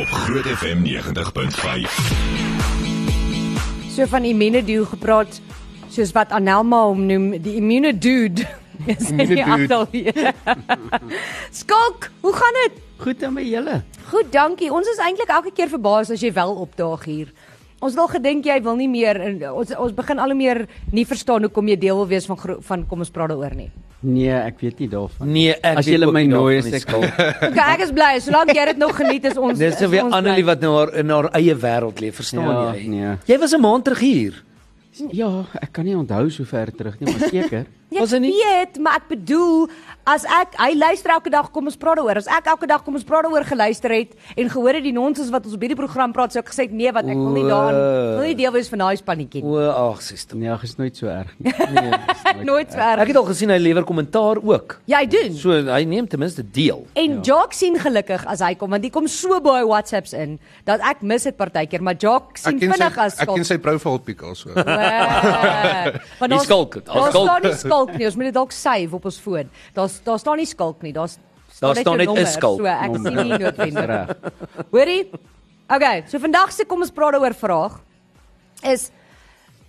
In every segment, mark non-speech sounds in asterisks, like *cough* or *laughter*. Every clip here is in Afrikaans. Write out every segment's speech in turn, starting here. op Groot FM 90.5. So van Imine Dude gepraat, soos wat Anelma hom noem, die Imine Dude. *laughs* Is in die Imine Dude. ateljee. *laughs* Skalk, hoe gaan dit? Goed aan by julle. Goed, dankie. Ons is eintlik elke keer verbaas as jy wel opdaag hier. Ons het al gedink jy wil nie meer en ons ons begin al hoe meer nie verstaan hoekom jy deel wil wees van gro- van kom ons praat daaroor nie. Nee, ek weet nie daarvan. Nee, ek As julle my nooi, is ek al. *laughs* OK, ek is bly. Solank jy dit nog geniet is ons Dis is weer ons bly. Annelie wat nou haar in haar eie wêreld leef, verstaan Ja, jy? nee. Jy was 'n maand terug hier. Ja, ek kan nie onthou so ver terug nie, maar *laughs* seker. Ja, Was hy nie? weet, maar ek bedoel as ek hy luister elke dag kom ons praat daaroor. As ek elke dag kom ons praat daaroor geluister het en gehoor het die nonsens wat ons op hierdie program praat, sou ek gesê het, nee, wat ek wil nie daaraan wil nie deel wees van daai spannetjie. nie." O, ag, sister. Nee, ag, is nooit so erg nie. Nee, is Nooit Ek ver. het al gesien hy lewer kommentaar ook. Ja, hy doen. So hy neem ten minste deel. En Jock sien gelukkig as hy kom want hy kom so baie WhatsApps in dat ek mis dit partykeer, maar Jock sien Ek ken sy vinnig as ek skalk. ken sy profile pic also. *laughs* Ek Want Die daar's- skalk het, al Daar skalk. staan nie skalk nie. Ons moet dit dalk save op ons foon. Daar daar staan nie skalk nie. Daar's Daar staan jou net 'n nommer, skalk. So ek sien nie noodwendig. reg. Hoorie? Okay, so vandag se kom ons praat daaroor vraag is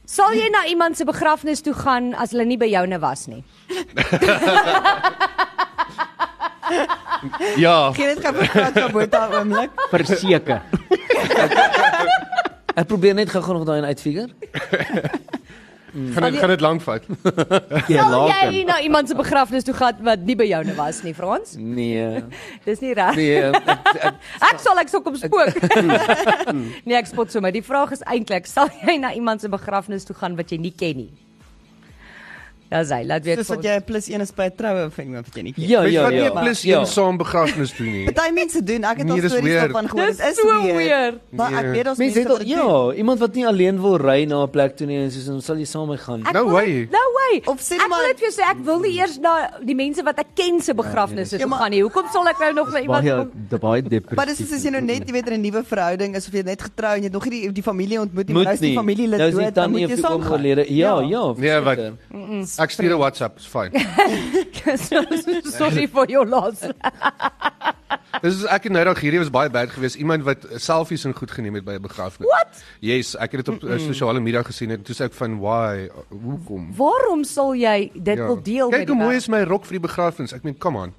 sal jy na iemand se begrafnis toe gaan as hulle nie by joune was nie? *laughs* Ja, Geen dit gaan praat oor daai oomblik. Verseker. *laughs* Ek probeer net gou-gou nog daai een uitfigure. gaan dit gaan dit lank vat. Jy Ja, Sal laat jy hom. na iemand se begrafnis toe gaan wat nie by joune was nie, Frans? Mm. Nee. Dis nie reg. Nee, ek, ek, Ek sal ek sal kom *laughs* spook. Mm. *laughs* nee, ek spot sommer. Die vraag is eintlik, sal jy na iemand se begrafnis toe gaan wat jy nie ken nie? Daar's hy. Laat weet Soos wat jy 'n plus 1 is by 'n troue of iemand wat jy nie ken. ja, Weet jy ja, wat nie ja. 'n plus ja. een saam begrafnis doen *laughs* nie. Party mense doen, ek het al Nee, dis stories weird. daarvan gehoor. Dis Dit is so weird. weird. Maar ek Nee. weet daar's Mense mense het al, wat dit doen. ja, iemand wat nie alleen wil ry na 'n plek toe nie en sê "Ons sal jy saam mee gaan." No way. No way. Of sê ek maar- wil net vir jou sê ek wil nie eers na die mense wat ek ken se begrafnisse toe maar- gaan nie. Hoekom sal ek nou nog na iemand Baie kom? *laughs* de- baie depressief. Maar dis is as jy nou net jy weet in 'n nuwe verhouding is of jy net getrou en jy het nog nie die, die familie ontmoet nie, maar nou is die familie lid Nou is die dood, dan tannie moet jy of die oom saam gaan. oorlede. Ja, ja. Nee, wat- verseker. Ek stuur 'n WhatsApp, is fyn. *laughs* Sorry for your loss. Dis is ek en Noudag hierdie was baie bad geweest. Iemand wat selfies en goed geneem het by 'n begrafnis. What? Yes, ek het dit op uh, sosiale media gesien en toe sê ek van why hoekom? Waarom sal jy dit Ja. wil deel Kyk met hoe mooi my? is my rok vir die begrafnis. Ek meen, come on.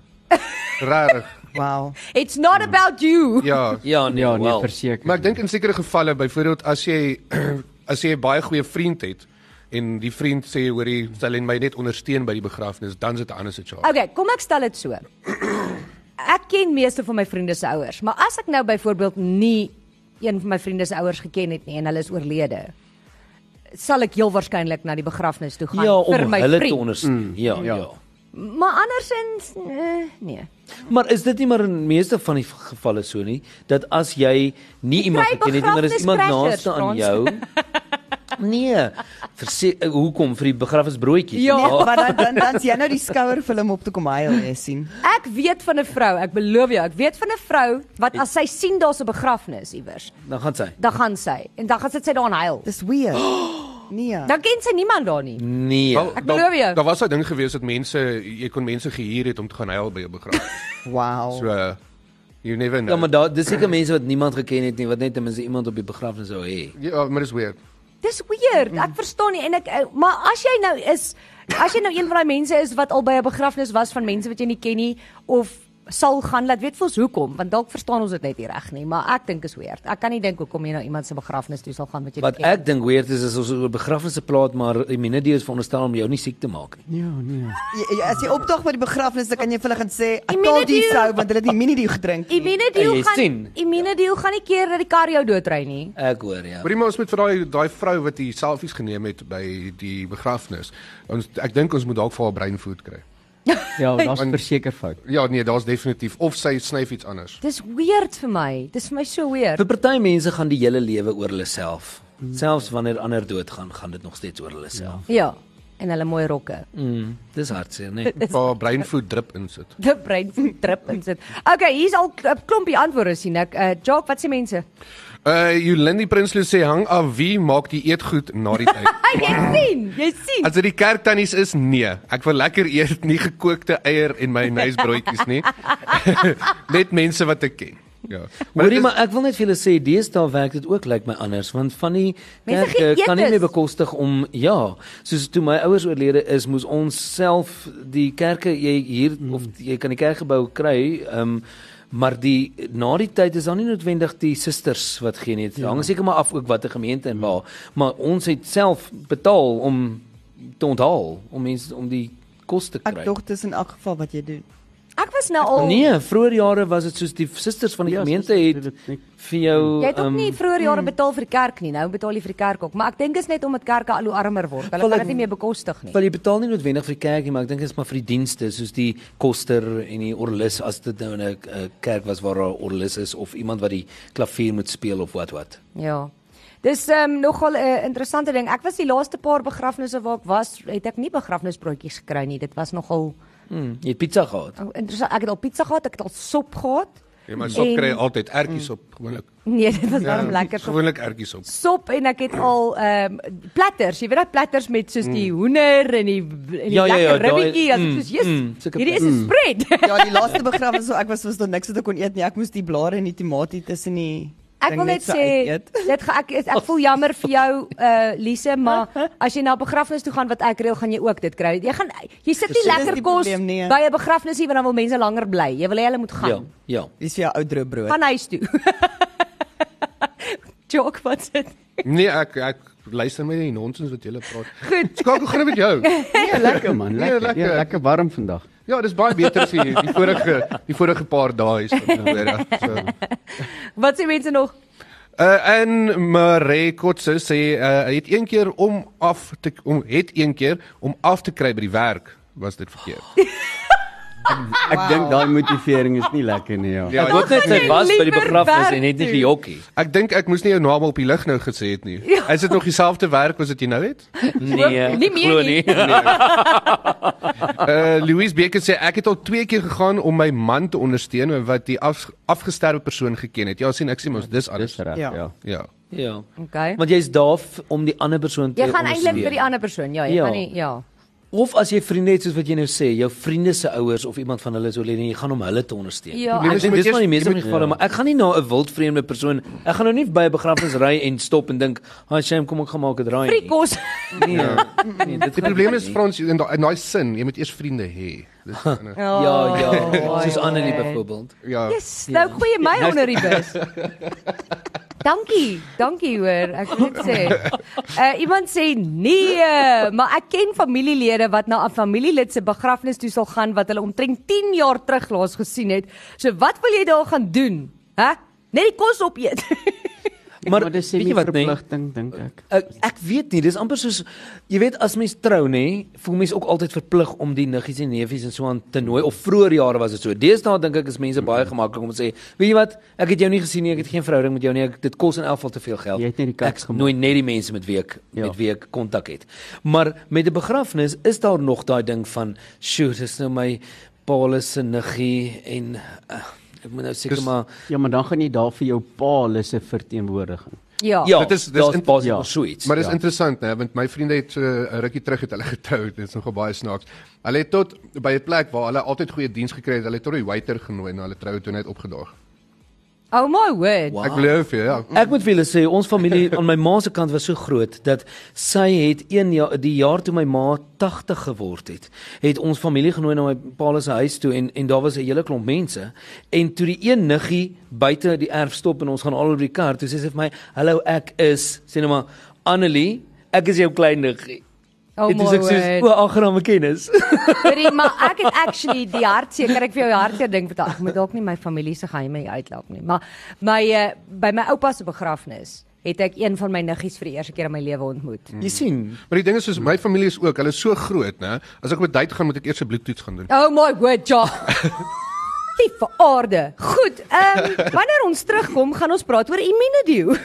Regtig. Wow. It's not about you. Ja. Ja, nee, Ja, nee, wel. verseker. Maar ek dink in sekere gevalle, byvoorbeeld as jy *clears throat* as jy 'n baie goeie vriend het en die vriend sê hoor jy sal en my net ondersteun by die begrafnis, dan is dit 'n ander situasie. Okay, kom ek stel dit so. *clears throat* Ek ken meeste van my vriende se ouers, maar as ek nou byvoorbeeld nie een van my vriende se ouers geken het nie en hulle is oorlede, sal ek heel waarskynlik na die begrafnis toe gaan Ja, vir om my hulle te vriend. ondersteun. Ja, ja. Maar andersins eh, nee. Maar is dit nie maar in meeste van die gevalle so nie dat as jy nie iemand kry geken het nie, maar er is iemand begrafniscrashers, naaste aan Frans. jou? *laughs* Nee. Verseker hoekom vir die begrafnisbroodjies? Ja. Nee, maar dan dan dan sien jy nou die skouerfilm op toe kom huil, jy sien. Ek weet van 'n vrou, ek beloof jou, ek weet van 'n vrou wat as sy sien daar's 'n begrafnis iewers, Dan gaan sy. dan gaan sy en dan gaan sit sy daar en huil. Dis weird. Nee. Nou- Dan ken sy niemand daar nie. Nee. Wel, Ek daar- beloof jou. Daar was 'n ding gewees dat mense jy kon mense gehuur het om te gaan huil by 'n begrafnis. Wow. So uh, you never know. Oh. Ja, maar daar dis seker mense wat niemand geken het nie, wat net ten minste iemand op die begrafnis sou hê. ja, maar dis weird. Dis weird. Ek verstaan nie en ek eh, maar as jy nou is as jy nou een van daai mense is wat al by 'n begrafnis was van mense wat jy nie ken nie of sal gaan laat weet vir ons hoekom want dalk verstaan ons dit net nie reg nie maar ek dink is weird. Ek kan nie dink hoekom jy nou iemand se begrafnis toe sal gaan wat jy nie Wat ken. nie. ek dink weird is is ons oor begrafnisse praat, maar immunity is veronderstel om jou nie siek te maak nie. Ja, nee. Jy- jy- As jy opdag by die begrafnis, dan kan jy vir hulle gaan sê, "I Immunity- told you so," want hulle het nie minie gedrink nie. Imine Jy deal gaan sien. Imine deal gaan nie keer dat die kar jou doodry nie. Ek hoor ja. Hoorie maar ons moet vir daai daai vrou wat die selfies geneem het by die begrafnis. Ons ek dink ons moet dalk vir haar brein voed kry. Ja, daar's verseker fout. Ja, nee, daar's definitief of sy snyf iets *laughs* anders. Dis weird vir my. Dis vir my so weird. Vir party mense gaan die hele lewe oor hulle self. Hmm. Selfs wanneer ander doodgaan, gaan dit nog steeds oor hulle self. Ja. En hulle mooi rokke. Mm, Ja. dis hartseer, *laughs* nee. Haar brein voed drip insit. Die brein *laughs* trip en sit. Okay, hier's al 'n klompie antwoorde sien ek. Uh Jock, wat sê mense? Uh Jolindi Prinsloo sê hang af wie maak die eetgoed na *laughs* die tyd. Hey, jy sien, jy sien. As dit die kerktannies is, nee. Ek wil lekker *laughs* eet nie gekookte eier en mayonnaise broodjies nie. Net mense wat ek ken. Ja. Hoorie, dit maar ek wil net vir julle sê deesdae werk dit ook lyk like my anders want van die Mense kerke gee kan nie etes. meer bekostig om ja, soos toe my ouers oorlede is, moes ons self die kerke jy hier hmm. of jy kan die kerkgebou kry, ehm um, maar die na die tyd is daar nie noodwendig die susters wat gee nie. Dit hang seker maar af ook watter gemeente en waar, maar ons het self betaal om te onthaal, om mense om die kos te kry. Ek dog dis in elk geval wat jy doen. Ek was nou al Nee, vroeër jare was dit soos die sisters van die ja, Ja, gemeente susters het het dit net- vir jou Jy het ook ehm, nie vroeër jare betaal vir die kerk nie, nou betaal jy vir die kerk ook, maar ek dink is net omdat kerke al hoe armer word. Hulle Wel, kan ek- dit nie meer bekostig nie. Wel jy betaal nie noodwendig vir die kerk nie, maar ek dink dit is maar vir die dienste soos die koster en die orgelis as dit nou in 'n eh, kerk was waar daar 'n orgelis is of iemand wat die klavier moet speel of wat wat. Ja. Dis um, nogal 'n interessante ding. Ek was die laaste paar begrafnisse waar ek was, het ek nie begrafnisbroodjies gekry nie. Dit was nogal Hm, jy het pizza gehad. oh, interessant. Ek het al pizza gehad, ek het al sop gehad. Ja, maar sop kry Ja. En- altyd ertjies op gewoonlik. Nee, dit was darem lekker sop. Gewoonlik ertjies op. Sop en ek het al ehm um, platters, jy weet daai platters met soos die hoender en die en die Mm. Ja, ja, ja, lekker daai- ribbetjie, as ek mm, soos jy's. mm, sulke hierdie is 'n Mm. spread. Ja, die laaste begrafnis so ek was was daar niks wat ek kon eet nie. Ek moes die blare en die tomatie tussen die Ek ding wil net so sê uit eet. dit gaan ek is- ek voel jammer vir jou eh uh, Lise, maar as jy na 'n begrafnis toe gaan wat ek reël, gaan jy ook dit kry. Jy gaan jy sit nie Dis lekker die kos probleem nie, hè? by 'n begrafnis nie want dan wil mense langer bly. Jy wil hê hulle moet gaan. Ja, ja. Dis vir jou ou droë brood. Gaan huis toe. *laughs* Joke wat dit. Nee, ek ek luister my nie nonsens wat jy *laughs* praat. Goed. Skakel gou met jou. Ja, lekker man, Nee, lekker. lekker. Ja, lekker warm vandag. Ja, dis baie beter as die, die vorige die vorige paar dae is van Pretoria. So. Wat sê mense nog? Uh en Marie Kotse sê uh, hy het een keer om af te om het een keer om af te kry by die werk was dit verkeerd. Ek wow. dink daai motivering is nie lekker nie, ja. Ja, Ek hoop net gaan sy jy was by die liever begrafnis werk en het nie toe. gejokkie. ek dink ek moes nie jou naam op die lig nou gesê het nie. Ja. Is dit nog dieselfde werk as wat jy nou het? Nee, nie meer glo nie. Uh Louise Becker sê ek het al twee keer gegaan om my man te ondersteun wat die af, afgesterwe persoon geken het. Ja, sien ek sê mos dis Dis alles. reg, Ja. ja. ja. Ja. *laughs* Ja. Okay. Want jy's daar f- om die ander persoon te Jy gaan eintlik ondersteun. vir die ander persoon. Ja, jy Ja. gaan nie ja. Of as jy vriende het soos wat jy nou sê, jou vriende se ouers of iemand van hulle is oorlede en jy gaan om hulle te ondersteun. Ja, ek ek- dink dis maar die meeste van Jy moet- die gevalle, maar ek gaan nie na 'n wildvreemde persoon, ek gaan nou nie by 'n begrafnis ry en stop en dink, "Ag, shame, kom ek gaan maak 'n draai." Free nie." kos. Nee. nee, dit Die gaan probleem nie. is Frans in daai in daai sin, jy moet eers vriende hê. *laughs* Dis Ja, ja. Oh, Soos Annelie okay. byvoorbeeld. ja. Yes, nou goeie my Ja, onder die bus. Dankie, dankie hoor. Ek wil net sê. Uh iemand sê nee, maar ek ken familielede wat na 'n familielid se begrafnis toe sal gaan wat hulle omtrent 10 jaar terug laas gesien het. So wat wil jy daar gaan doen? Hæ? Net die kos opeet. Maar maar dis weet jy nie wat, nee? verpligting dink ek. Ek, Eh, ek weet nie, dis amper soos jy weet as mens trou nê, voel mens ook altyd verplig om die niggies en neefies en so aan te nooi of vroeër jare was dit so. Deesdae dink ek is mense baie gemaklik om te sê, weet jy wat, ek het jou nie gesien nie, ek het geen verhouding met jou nie, ek, dit kos in elk geval te veel geld. Jy het net die kans Ek gemaak. Nooi net die mense met wie ek Ja. met wie ek kontak het. Maar met 'n begrafnis is daar nog daai ding van, "Sjoe, dis nou my Paulus se niggie en uh, ek moet nou seker Dis- maar Ja, maar dan gaan jy daar vir jou pa hulle se verteenwoordiging. *laughs* ja. ja, dit is- dis daar's in- basies ja. maar so iets. Maar dis ja. ja. interessant nê, want my vriende het so 'n rukkie terug het hulle *laughs* getrou, dit is nogal baie snaaks. Hulle het tot by 'n plek waar hulle altyd goeie diens gekry het, hulle het tot die waiter genooi na hulle troue toe net opgedaag. Oh my word. Wow. Ek glo vir jou, ja. Ek moet vir julle sê ons familie aan my ma se kant was so groot dat sy het een jaar die jaar toe my ma 80 geword het, het ons familie genooi na my pa se huis toe en en daar was 'n hele klomp mense en toe die een niggie buite die erf stop en ons gaan al oor die kar, toe sê sy vir my, "Hallo, ek is sê nou maar Annelie, ek is jou klein niggie." Oh en my toe sê ek word. soos, "O, aangename kennis." *laughs* Hoorie, maar ek het actually die hartseer, kan ek vir jou die hartseer ding vertel. Ek moet dalk nie my familie se geheime hier uitlaat nie, maar my uh, by my oupa se begrafnis het ek een van my niggies vir die eerste keer in my lewe ontmoet. Jy sien, Maar die ding is soos my familie is ook, hulle is so groot nê. As ek op 'n date gaan, moet ek eers 'n bloedtoets gaan doen. Oh my god, ja. Liewe aarde. Goed, ehm wanneer ons terugkom, gaan ons praat oor immunedio.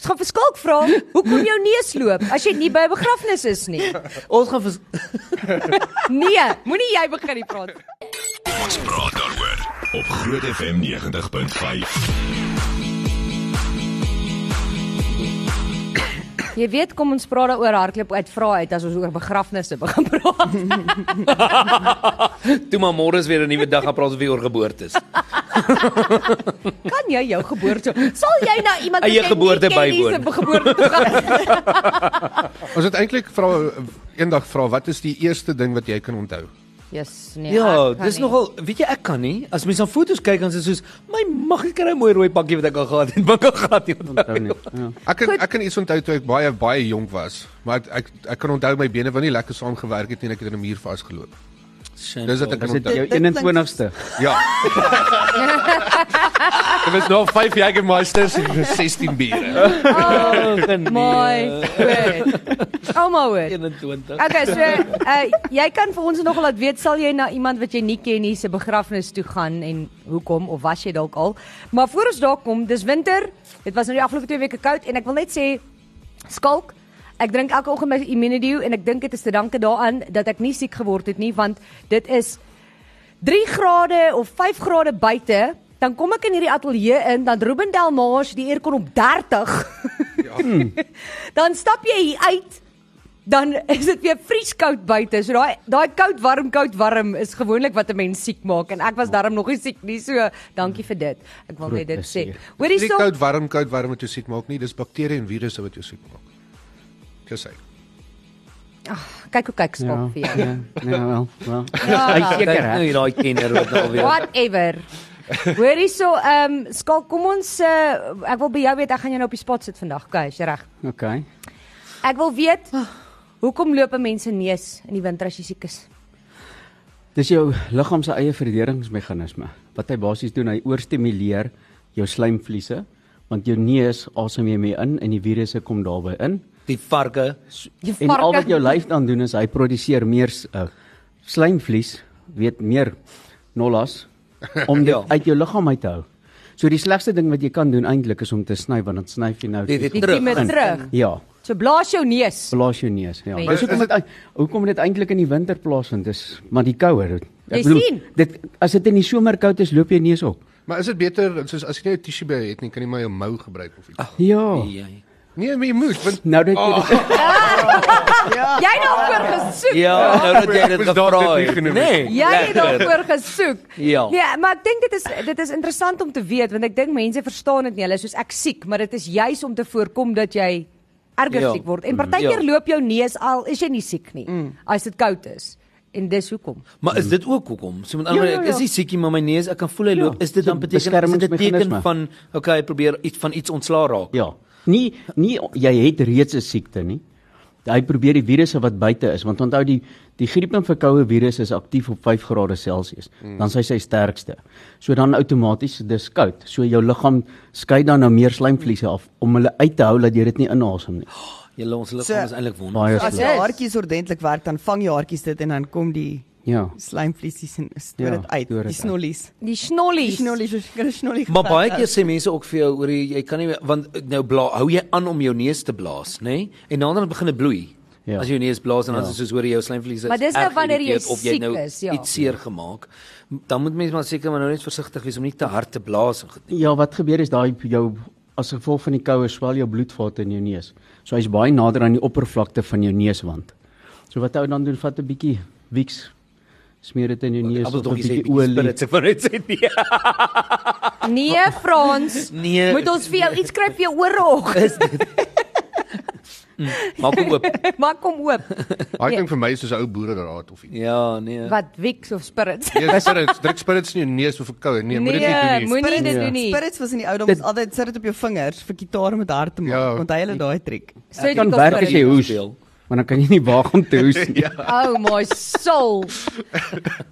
Ons gaan verskalk vra hoekom jou neus loop as jy nie by 'n begrafnis is nie. ons gaan vers- Nee, moenie jy begin die praat. Ons praat daaroor op Groot FM 90.5. Jy weet kom ons praat daaroor hardloop uit vra uit as ons oor begrafnisse begin *laughs* praat. toe maar môre is weer 'n nuwe dag, gaan praat ons weer oor geboortes. Kan jy jou geboorte sal jy na iemand Eie wat jy nie geboorte ken nie se bywoon. geboorte *laughs* toe gaan? Ons het eintlik vra eendag vra wat is die eerste ding wat jy kan onthou? Yes, nee. Ja, ek kan dis nie. nogal, weet jy ek kan nie. As mens aan foto's kyk dan is dit soos, "My mag ek kry 'n mooi rooi pakkie wat ek al gehad het, *laughs* wat ek al gehad het." Onthou nie. Ja. Ek kan, ek kan iets onthou toe ek baie baie jonk was, maar ek ek, ek kan onthou my bene wou nie lekker saamgewerk het nie en ek het in 'n muur vasgeloop. Dis wat ek kan Is dit onthou. jou dit klink- 21ste? Ja. Dit was nog 5 jaar *laughs* gemasters en 16 biere. Oh, *laughs* Nee, My word. Oh my word. 21. Okay, so uh, jy kan vir ons nogal laat weet sal jy na iemand wat jy nie ken nie se begrafnis toe gaan en hoekom of was jy dalk al? Maar voor ons daar kom, dis winter. Dit was nou die afgelope 2 weke koud en ek wil net sê skalk Ek drink elke oggend my Immunedew en ek dink dit is te danke daaraan dat ek nie siek geword het nie want dit is 3 grade of 5 grade buite, dan kom ek in hierdie ateljee in, dan Ruben Delmage die aircon op 30. Hmm. Ja. *laughs* dan stap jy hier uit, dan is dit weer vrieskoud buite. So daai daai koud warm koud warm is gewoonlik wat 'n mens siek maak en ek was Ja. darm nog nie siek nie. So dankie vir dit. Ek wil net dit sê. plesier. Hoor Dis nie hierso. koud warm koud warm wat jou siek maak nie, dis bakterieë en virusse wat jou siek maak. Dis hy. Kyk hoe kyk Ja. skop vir jou. Ja, ja, wel, wel. Hy Hy seker seker, nou hè? hier daai kenner wat nou weer. Whatever. Hoor hierso, ehm um, skalk kom ons uh, ek wil by jou weet ek gaan jou nou op die spot sit vandag. Okay, is jy reg? Okay. Ek wil weet hoekom loop 'n mens se neus in die winter as jy siek is? Dis jou liggaam se eie verdedigingsmeganisme wat hy basies doen, hy oorstimuleer jou slijmvliese want jou neus asem jy mee in en die virusse kom daarby in. Die varke. Jy En al wat jou lyf dan doen is hy produseer meer s- uh, slijmvlies, weet meer nollas om dit Ja. uit jou liggaam uit te hou. So die slegste ding wat jy kan doen eintlik is om te sny want dan sny jy nou Dit die- het die kieme terug. terug. Ja, So blaas jou neus. blaas jou neus. Ja. Nee. Dis hoekom dit ei- hoekom dit eintlik in die winter plaasvind is, maar die kouer. Jy sien. dit as dit in die somer koud is, loop jou neus op. Maar is dit beter soos as jy nie 'n tissue by het nie, kan jy maar jou mou gebruik of iets. Ja. Jy. Nee, maar jy moet want Nou dat jy Ah. dit Jy het daarvoor gesoek. Ja, nou dat jy dit Ek was daar gevra net nie het. genoem. Nee. Jy het daarvoor gesoek. Ja. Nee, maar ek dink dit is dit is interessant om te weet want ek dink mense verstaan dit nie. Hulle is soos ek siek, maar dit is juis om te voorkom dat jy erger Ja. siek word. En partykeer Ja. Mm. loop jou neus al is jy nie siek nie as dit koud is. En dis hoekom. Maar is dit ook hoekom? So met ander Ja, ja, woorde, ek ja. is nie siekie maar my neus, ek kan voel hy Ja, loop. Is dit so dan beteken is dit 'n teken beskermingsmeganisme. van okay, hy probeer iets van iets ontslaa raak? *laughs* Ja. Nie nie jy het reeds 'n siekte nie. Hy probeer die virusse wat buite is want onthou die die griep en verkoue virus is aktief op 5 grade Celsius. Hmm. Mm. Dan is hy sy sterkste. So dan outomaties dis koud. So jou liggaam skei dan nou meer slijmvliese af om hulle uit te hou dat jy dit nie inasem nie. Julle ons So- liggaam is eintlik wonder. Baie As sleg. jou haartjies ordentlik werk, dan vang jou haartjies dit en dan kom die Ja. slijmvliesies en Ja, stoor dit uit, stoor dit die uit. snollies. Die Die snollies. snollies, jy kan 'n snollie Maar gebruik. baie keer sê mense ook vir jou oor jy, jy kan nie meer- want nou bla hou jy aan om jou neus te blaas, nê? Nee? En dan dan begin dit bloei. Ja. Ja. As jou neus blaas en dan Ja. ja. is dit soos hoor jy jou slijmvliese. Maar dis nou erg wanneer jy geïrriteerd of het siek is, ja. iets seer gemaak. Dan moet mense maar seker maar nou net versigtig wees om nie te hard te blaas en goed. Ja, wat gebeur is daai jou as gevolg van die koue swel jou bloedvate in jou neus. So hy's baie nader aan die oppervlakte van jou neuswand. So wat hou dan doen vat 'n bietjie Vicks smeer dit in jou neus of 'n Appeltokkies het bietjie bietjie olie. spirits ek wou net sê nee. Nee, Frans. Nee. Moet ons vir jou iets skryf vir jou ore ook. *laughs* Is dit? Maak hom oop. Maak hom oop. Hy dink vir my is soos 'n ou boereraad *laughs* of iets. Ja, *laughs* nee. Wat Wicks of Spirits. Ja. Jy spirits, druk spirits in jou neus of vir koue. Nee, moet dit nie doen nie. moenie dit Ja. doen nie. Spirits was in die ou dae ons altyd sit dit op jou vingers vir gitaar met hart te maak. Ja. Ja, Onthou julle daai triek? Dit kan werk as jy hoes. Speel. Maar dan kan jy nie waag om te *laughs* hoes nie. ja. *laughs* Oh my soul.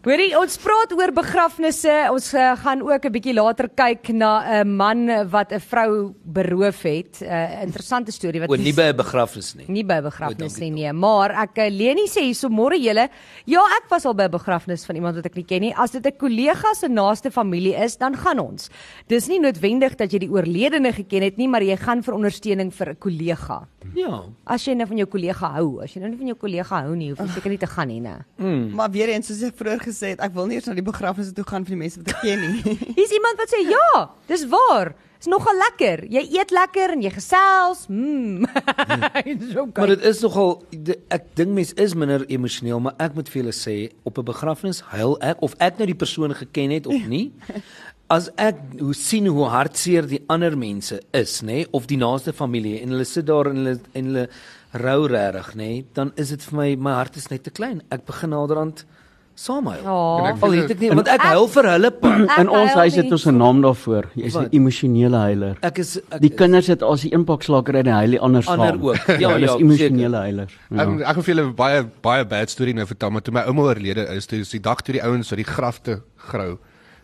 Hoorie, ons praat oor begrafnisse. Ons uh, gaan ook 'n bietjie later kyk na 'n man wat 'n vrou beroof het. 'n uh, Interessante storie wat Oor nie by 'n begrafnis nie. nie by begrafnis nie nee, maar ek eh, Leni sê hierso môre julle, ja, ek was al by 'n begrafnis van iemand wat ek nie ken nie. As dit 'n kollega se naaste familie is, dan gaan ons. Dis nie noodwendig dat jy die oorledene geken het nie, maar jy gaan vir ondersteuning vir 'n kollega. Ja. As jy nou van jou kollega hou, as jy nou nie van jou kollega hou nie, hoef jy seker nie te gaan nie, nee. né? Hmm. Mm. Maar weer eens soos ek vroeër gesê het, ek wil nie eers na die begrafnisse toe gaan van die mense wat ek ken *laughs* nie. Hier's iemand wat sê ja, dis waar. Is nogal lekker. Jy eet lekker en jy gesels. *laughs* Mm. Maar dit is nogal de- ek dink mens is minder emosioneel, maar ek moet vir julle sê op 'n begrafnis huil ek of ek nou die persoon geken het of nie. as ek hoe sien hoe hartseer die ander mense is, nê, nee, of die naaste familie en hulle sit daar en hulle en hulle rou regtig, nê, nee, dan is dit vir my my hart is net te klein. Ek begin naderhand saamhuil. Ja. En ek- Al het ek nie want ek huil vir hulle. pa. Ek In ons huil huis het nie. ons 'n naam daarvoor. Jy's 'n Wat? emosionele huiler. Ek is ek Die kinders het as die inpakslaker uit die heilie anders saam. Ander *laughs* ook. Ja, hulle ja, is emosionele heilers. Ja. Ehm, Ek ek gaan vir julle baie baie bad storie nou vertel, maar toe my ouma oorlede is, toe is die dag toe die ouens wat die grafte grou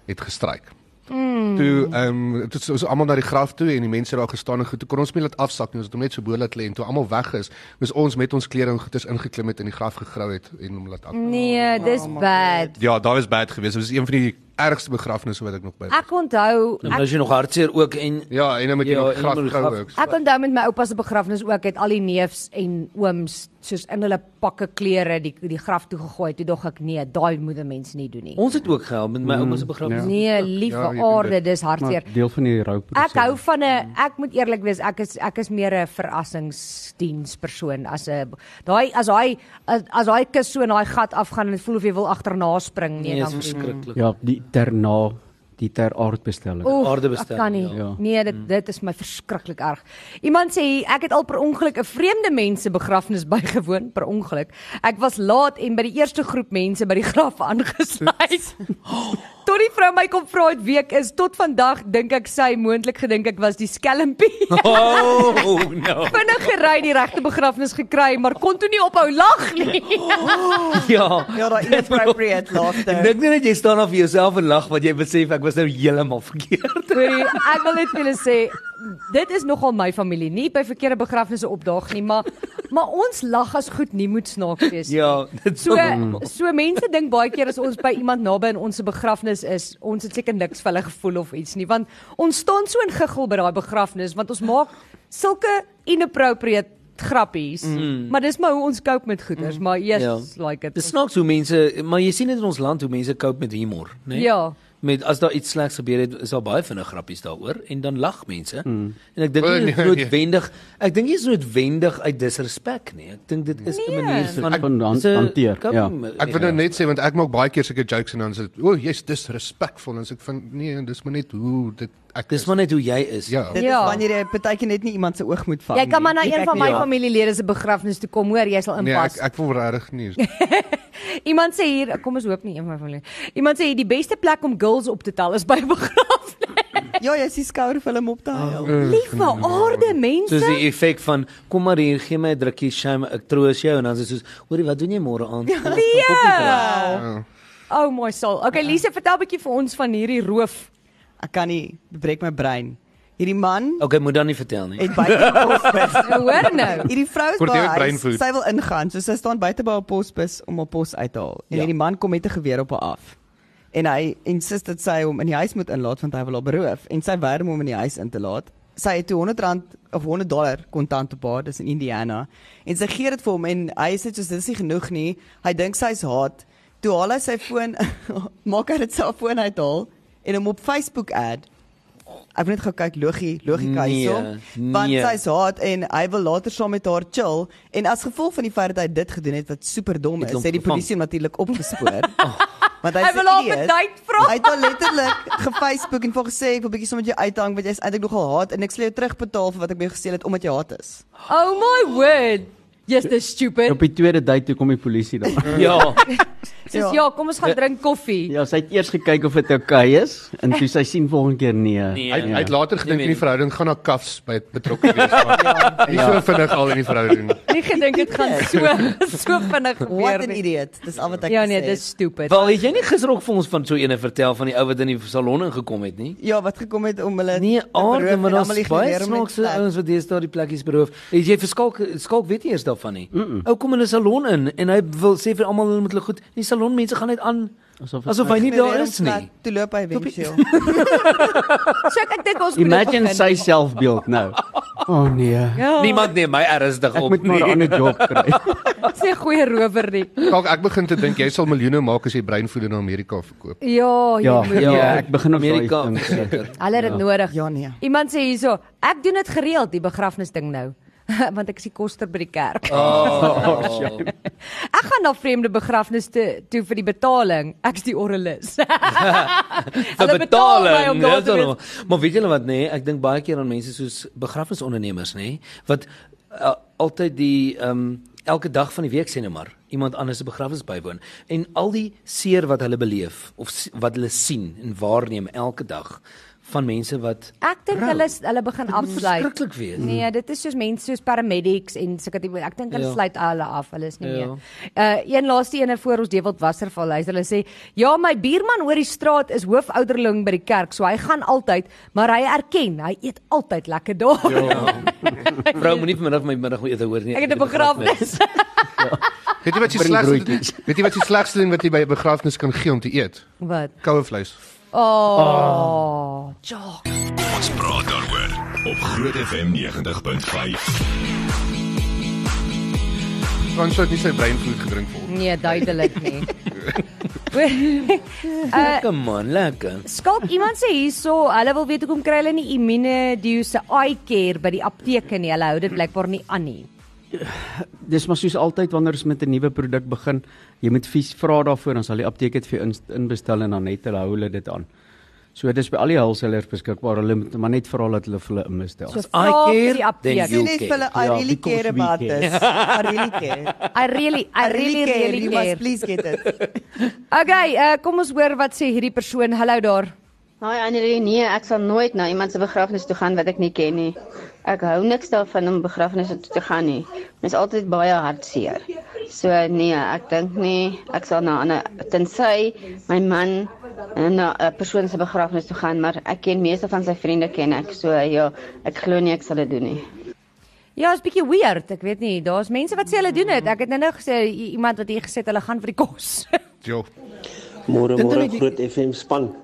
het gestryk. Mm. Toe ehm um, toe is ons almal na die graf toe en die mense daar gestaan en goed. Toe kon ons hom nie laat afsak nie, ons het hom net so bo laat lê en toe almal weg is, moes ons met ons klere en goeders ingeklim het en die graf gegrou het en hom laat af. Mm. Nee, Oh, dis bad. Ja, daar was bad geweest. Dit was een van die ergste begrafnisse wat ek nog by. Ek onthou Nou as jy nog hartseer ook en Ja, en dan met die Ja, ja, en graf met die grou graf- ook. Ek onthou met my oupa se begrafnis ook het al die neefs en ooms soos in hulle pakke klere die die graf toe gegooi. Toe dog ek nee, daai moet mense nie doen nie. ons het ook gehelp Mm. met my ouma se begrafnis. Nee, liewe Ja, jy doen aarde, dit. dis Maar hartseer. deel van die rouproses. Ek hou van 'n ek moet eerlik wees, ek is ek is meer 'n verrassingsdienspersoon as 'n daai as hy as, as hy kus so in daai gat afgaan en dit voel of jy wil agterna spring nee, Nee, dit is dan verskriklik. Ja, die terna, die ter aardbestelling. Oef, Aardebestelling, Ek kan nie. Ja. ja. Nee, dit dit is my verskriklik erg. Iemand sê hier, ek het al per ongeluk 'n vreemde mens se begrafnis *laughs* bygewoon per ongeluk. Ek was laat en by die eerste groep mense by die graf *laughs* aangesluit. Tot die vrou my kom vra het week is tot vandag dink ek sy moontlik gedink ek was die skelmpie. *laughs* Oh no. Vinnig gery die regte begrafnis gekry, maar kon toe nie ophou lag nie. *laughs* Ja. Ja, daai inappropriate Ek laughter. dink nie dat jy staan af vir jouself en lag wat jy besef ek was nou heeltemal verkeerd. Hoorie, ek wil net vir julle sê dit is nogal my familie, nie by verkeerde begrafnisse opdaag nie, maar maar ons lag as goed nie moet snaaks wees. nie. Ja, dit So so. so mense dink baie keer as ons by iemand naby in ons begrafnis is, ons het seker niks vir hulle gevoel of iets nie, want ons staan so in giggel by daai begrafnis want ons maak sulke inappropriate grappies. Mm. Maar dis maar hoe ons cope met goeters, mm. maar yes, ja. Ja. like it. Dis snaaks hoe mense, maar jy sien dit in ons land hoe mense cope met humor, né? Nee? Ja. Met as daar iets slegs gebeur het, is daar baie vinnig grappies daaroor en dan lag mense. Mm. En ek dink O, nie nee, dit is noodwendig, ek dink nie dit is noodwendig uit disrespek nie. Ek dink dit is 'n Nee. manier van Ek- van han- dis 'n hanteer, cope- ja. Ek wil nou net sê want ek maak baie keer sulke jokes en dan sê, "O, oh, jy's disrespectful." En so ek van, "Nee, dis maar net hoe dit ek Dis maar net hoe jy is. Ja. Dit is Ja. wanneer jy partykeer net nie iemand se oog moet vang. Jy kan maar na nie. een Kyk van my nie. familielede se begrafnis toe kom, hoor, jy sal Nee, inpas. ek ek wil regtig *laughs* nie. Ja. Iemand sê hier, kom ons hoop nie een van my familie. Iemand sê hier, die beste plek om girls op te tel is by 'n begrafnis. Ja, jy sien skouerfilm op daai. Eh, Ah. Oh. Liewe aarde mense. Ja. Soos die effek van kom maar hier, gee my 'n drukkie, shame, ek troos jou en dan is dit soos, hoorie, wat doen jy môre aand? Ja. Kom ons gaan koffie drink. Wow. Ja. Oh my soul. Okay, Lise, vertel 'n bietjie vir ons van hierdie roof. Ek kan nie, dit breek my brein. Hierdie man Okay, moet dan nie vertel nie. het baie kos. Hoor nou. *laughs* Hierdie vrou is Kort by jy haar brein huis, voed. sy wil ingaan, so sy staan buite by haar posbus om haar pos uit te haal. En Ja. ja. hierdie man kom met 'n geweer op haar af. En hy insist dat sy hom in die huis moet inlaat want hy wil haar beroof en sy weier om hom in die huis in te laat. Sy het toe 100 rand of 100 dollar kontant op haar, dis in Indiana. En sy gee dit vir hom en hy sê soos dit is nie genoeg nie. Hy dink sy's haat. Toe haal hy sy foon, *laughs* maak hy dit self foon uithaal en hom op Facebook ad. Ek wil net gou kyk logie, logika Nee, hierso. Want nee. sy is haat en hy wil later saam met haar chill en as gevolg van die feit dat hy dit gedoen het wat super dom Het is, hom het die gevang. polisie hom *laughs* natuurlik opgespoor. Oh. Want Hy is wil een haar idiot. vir date vra. Hy het haar letterlik ge-Facebook en vir haar gesê ek wil bietjie saam met jou uithang want jy's eintlik nogal haat en ek sal jou terugbetaal vir wat ek by jou gesteel het omdat jy haat is. Oh my word. Yes, dis Op stupid. die tweede date toe kom die polisie dan. *laughs* Ja. Soos ja, kom ons gaan drink koffie. ja, sy het eers gekyk of dit oukei is en toe sy sien volgende keer nee. Nee. Hy hy het later gedink Nee, Ja. in die verhouding gaan na kafs by betrokke wees. *laughs* maar Nie so vinnig al in die verhouding. Nie gedink dit gaan Ja. so so *laughs* vinnig What gebeur an nie. idiot. Dis al wat ek Ja nee, gesê het. dis stupid. Wel, het jy nie gister ook vir ons van so 'n vertel van die ou wat in die salon ingekom het nie? Ja, wat gekom het om hulle Nee, te beroof aarde, en maar almal daar's die baie geweer om net te snaakse plek. ouens wat deesdae die plekkies beroof. Het jy vir skalk skalk weet nie eers daarvan nie. Mm -mm. Ou kom in 'n salon in en hy wil sê vir almal hulle moet hulle goed. Die salon mense gaan net aan asof, Asof- asof hy nie Nee, daar Geweer om is plek, nie. Toe loop hy eventueel. So ek ek dink ons moet dit Imagine begin. sy selfbeeld nou. *laughs* O oh, nee. Ja, Niemand neem my ernstig Ek op moet maar 'n Nee. nie. ander job kry. *laughs* is nie 'n goeie rower nie. Kyk, ek begin te dink jy sal miljoene maak as jy breinvoeding na Amerika verkoop. Ja, jy Ja, moet. ja, ek begin op daai Amerika ding. verseker. Hulle het dit nodig. Ja nee. Iemand sê hierso, ek doen dit gereeld die begrafnis ding nou. *laughs* want ek is die koster by die kerk. Oh, *laughs* Ek gaan na vreemde begrafnis toe, toe vir die betaling. Ek's die *laughs* orrelis. *laughs* Hulle betaal my om daar te dis wees. normaal. Maar weet julle wat nê, nee, ek dink baie keer aan mense soos begrafnisondernemers nê, nee, wat uh, altyd die ehm um, elke dag van die week sê nou maar iemand anders se begrafnis bywoon en al die seer wat hulle beleef of s- wat hulle sien en waarneem elke dag van mense wat Ek dink Vrou, hulle is- hulle begin dit moet afsluit. verskriklik wees. *laughs* Nee, dit is soos mense soos paramedics en sulke tipe. Ek dink hulle Ja. sluit alle af. Hulle is nie Ja. meer. Uh een laaste ene voor ons Dewald Wasserval huis. Hulle sê, "Ja, my buurman oor die straat is hoofouderling by die kerk, so hy gaan altyd, maar hy erken, hy eet altyd lekker daar." Ja, vrou moenie vanmiddag my middagete hoor nie. *laughs* Ek het 'n begrafnis. Weet jy wat jy Bring slegs broodjies. Weet jy wat jy slegs doen wat jy by 'n begrafnis kan gee om te eet? *laughs* Wat? Ah. Koue vleis. Oh. Ah. Jog. Ons praat daaroor op Groot FM 90.5. Frans het nie sy breinvloed gedrink vol. Nee, duidelik nie. *laughs* Hoor, Lekker man, lekker. Skalk iemand sê hierso, hulle wil weet hoekom kry hulle nie Immunedio se eye care by die apteek nie. Hulle hou dit blykbaar nie aan nie. Dis maar soos altyd wanneer ons met 'n nuwe produk begin, jy moet vies vra daarvoor, dan sal die apteek dit vir jou inst- inbestel en dan net hulle hou hulle dit aan. So dis by al die hulsellers beskikbaar. Hulle moet maar net vra dat hulle vir hulle inbestel. So I vra vir care, die then apteek. you- Sê net vir hulle I Ja, really because care we about care. this. I really care. I really I really really you care. must please get it. Okay, uh, kom ons hoor wat sê hierdie persoon. Hallo daar. Hi Annelie, nee, ek sal nooit na iemand se begrafnis toe gaan wat ek nie ken nie. Ek hou niks daarvan om begrafnisse toe te gaan nie. Dit is altyd baie hartseer. So nee, ek dink nie ek sal na 'n ander tensy my man na 'n persoon se begrafnis toe gaan, maar ek ken meeste van sy vriende ken ek. So ja, ek glo nie ek sal dit doen nie. Ja, is bietjie weird. Ek weet nie. Daar's mense wat sê hulle doen dit. Ek het nou nou gesê i- iemand wat hier gesê het hulle gaan vir die *laughs* kos. Jo. Môre Dink hulle môre die- groot FM span.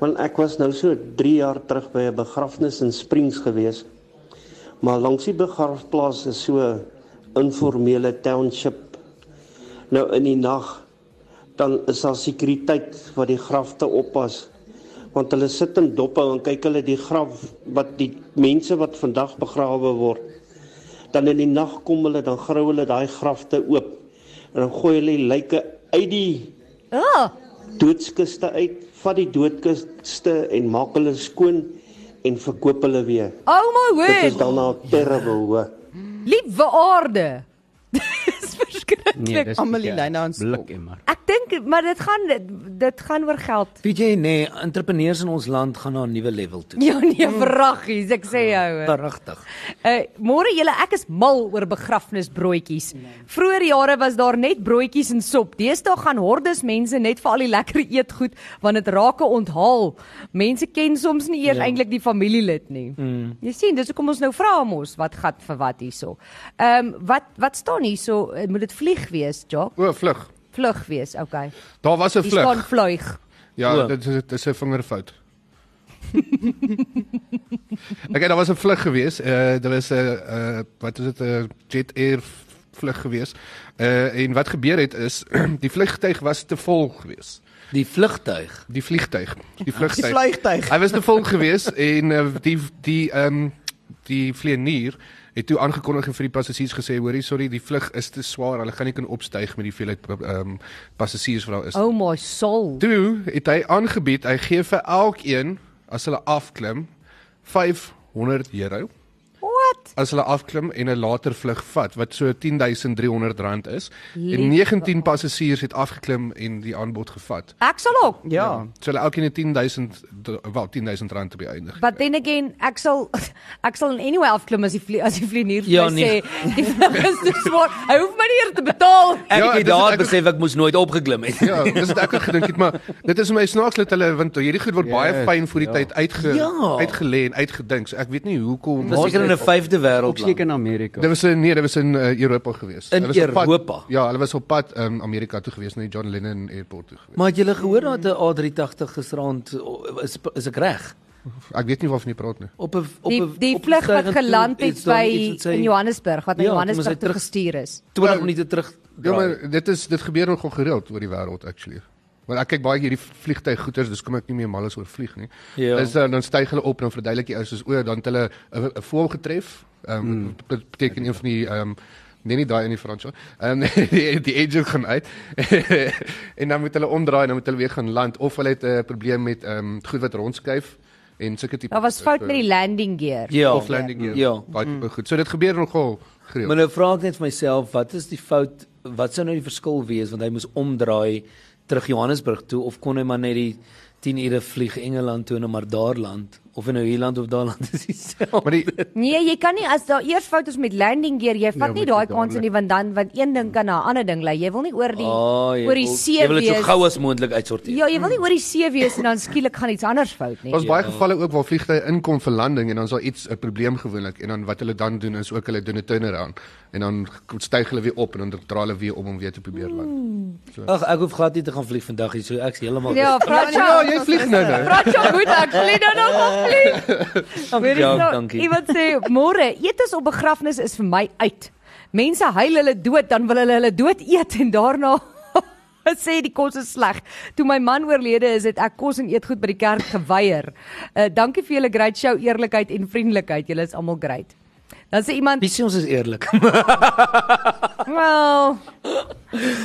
Want ek was nou so 3 jaar terug by 'n begrafnis in Springs gewees. Maar langs die begrafplaas is so 'n informele township. Nou in die nag dan is daar sekuriteit wat die grafte oppas. Want hulle sit in doppe en kyk hulle die graf wat die mense wat vandag begrawe word. Dan in die nag kom hulle dan grou hulle daai grafte oop en dan gooi hulle die lyke uit die O, oh, doodskiste uit, vat die doodkiste en maak hulle skoon en verkoop hulle weer. oh my Dit is word. dan nou terrible hoor. Liewe aarde. *laughs* Dis verskriklik. nee, dis bietjie Amelie Lynaan se blik en maar. Ek dink maar dit gaan dit, dit gaan oor geld. Weet jy nee, entrepreneurs in ons land gaan na 'n nuwe level toe. Ja nee, vraggies, ek sê jou. Ja. Pragtig. Uh môre julle, ek is mal oor begrafnisbroodjies. Vroeger jare was daar net broodjies en sop. Deesdae gaan hordes mense net vir al die lekker eetgoed want dit raak 'n onthaal. Mense ken soms nie eers ja. eintlik die familielid nie. Mm. Jy sien, dis hoekom ons nou vra mos wat gat vir wat hierso. Ehm um, wat wat staan hierso? Eh, Moet dit vlieg wees, Jock? O, vlug. Vlug wees, okay. Daar was 'n Hier staan vlug. vlug. Ja, O. dit is dit is 'n vingerfout. okay, daar was 'n vlug gewees. Eh uh, daar was 'n uh, wat is dit 'n Jet Air vlug gewees. Eh uh, en wat gebeur het is *clears throat* die vliegtyg was te vol gewees. Die vlugtyg. Die vliegtyg, die Die vliegtyg. vliegtyg. Hy was te vol gewees en uh, die die ehm um, die vlieënier het toe aangekondig en vir die passasiers gesê hoorie sorry die vlug is te swaar hulle gaan nie kan opstyg met die veelheid ehm um, passasiers wat daar is. Oh my soul. Toe het hy aangebied hy gee vir elkeen as hulle afklim 500 euro What? as hulle afklim en 'n later vlug vat wat so R10300 rand is. En 19 passasiers het afgeklim en die aanbod gevat. Ek sal ook. Ja. So hulle elkeen het 10000 wel 10000 rand op die einde. But then again, ek *laughs* sal ek sal in anyway afklim as die vlie, as die vlieënier vir Ja, ja, my nee. sê die vlug is te swaar. Hy hoef my nie eers te betaal. Ek Ja, ja, het dis- daar ek- besef ek moes nooit opgeklim *laughs* het. Ja, dis wat ek ook gedink het, maar dit is my snaaks dat hulle want hierdie goed word baie Yes, fyn vir die ja. tyd uitge Ja. uitgelê en uitgedink. So ek weet nie hoekom Was seker in 'n vyfde wêreld Ook seker land. in Amerika. Dit was in nee, dit was in uh, Europa gewees. In Hulle was op pad- Europa? Ja, hulle was op pad um, Amerika toe gewees, na die John Lennon Airport toe gewees. Maar het julle gehoor dat 'n A380 gisterand o- is is ek reg? Ek weet nie waarvan jy praat nie. Op 'n op Die 'n die op 'n vlug vliegtuig wat en toe geland iets het dan by iets wat sê in Johannesburg wat na Ja, toe moes hy Johannesburg toe terug- gestuur is. 20 minute terug. Ja, maar dit is dit gebeur nogal gereeld oor die wêreld actually. Want ek kyk baie hierdie vliegtyg goeters, dis kom ek nie meer mal is oor vlieg nie. Ja. Is dan dan styg hulle op en dan verduidelik die ou soos o, dan het hulle 'n- 'n voël getref. Ehm Hmm. um, mm. beteken een van die ehm um, nee nie daai in die Frans. hoor. Ehm *laughs* um, die die agent gaan uit. *laughs* en dan moet hulle omdraai en dan moet hulle weer gaan land of hulle het 'n probleem met ehm um, goed wat rondskuif en sulke tipe eh, Daar was fout met die landing gear. Ja. of landing gear. Ja. Daai tipe goed. So dit gebeur nogal gereeld. Maar nou vra ek net vir myself, wat is die fout? Wat sou nou die verskil wees want hy moes omdraai terug Johannesburg toe of kon hy maar net die 10 ure vlieg Engeland toe en dan maar daar land of hy nou hier land of daar land *laughs* is Maar dieselfde. die Nee, jy kan nie as daar eers fout is met landing gear, jy vat nie moet daai jy kans nie want dan want een ding kan na 'n ander ding lei. Jy wil nie oor die Ah, jy oor die wil- see Jy wil dit so wees. gou as moontlik uitsorteer. Ja, jy wil nie oor die see wees en dan skielik gaan iets anders fout nie. Daar's Ja. baie gevalle ook waar vliegtye inkom vir landing en dan is daar iets 'n probleem gewoonlik en dan wat hulle dan doen is ook hulle doen 'n turnaround en dan styg hulle weer op en dan draai hulle weer om om weer te probeer land. Ag, ek hoef glad nie te gaan vlieg vandag nie, so ek's heeltemal Ja, vra Ja, jou. jy vlieg nou nou. Vra jou goed, ek vlieg nou nog op vlieg. dankie. Weet jy Ja, nou, dankie. Iemand sê môre, etes op begrafnis is vir my uit. Mense huil hulle dood, dan wil hulle hulle dood eet en daarna *laughs* sê die kos is sleg. Toe my man oorlede is, het ek kos en eetgoed by die kerk geweier. Uh, dankie vir julle great show, eerlikheid en vriendelikheid. Julle is almal great. Dan sê iemand, Wie sê ons is eerlik? *laughs* "Wel."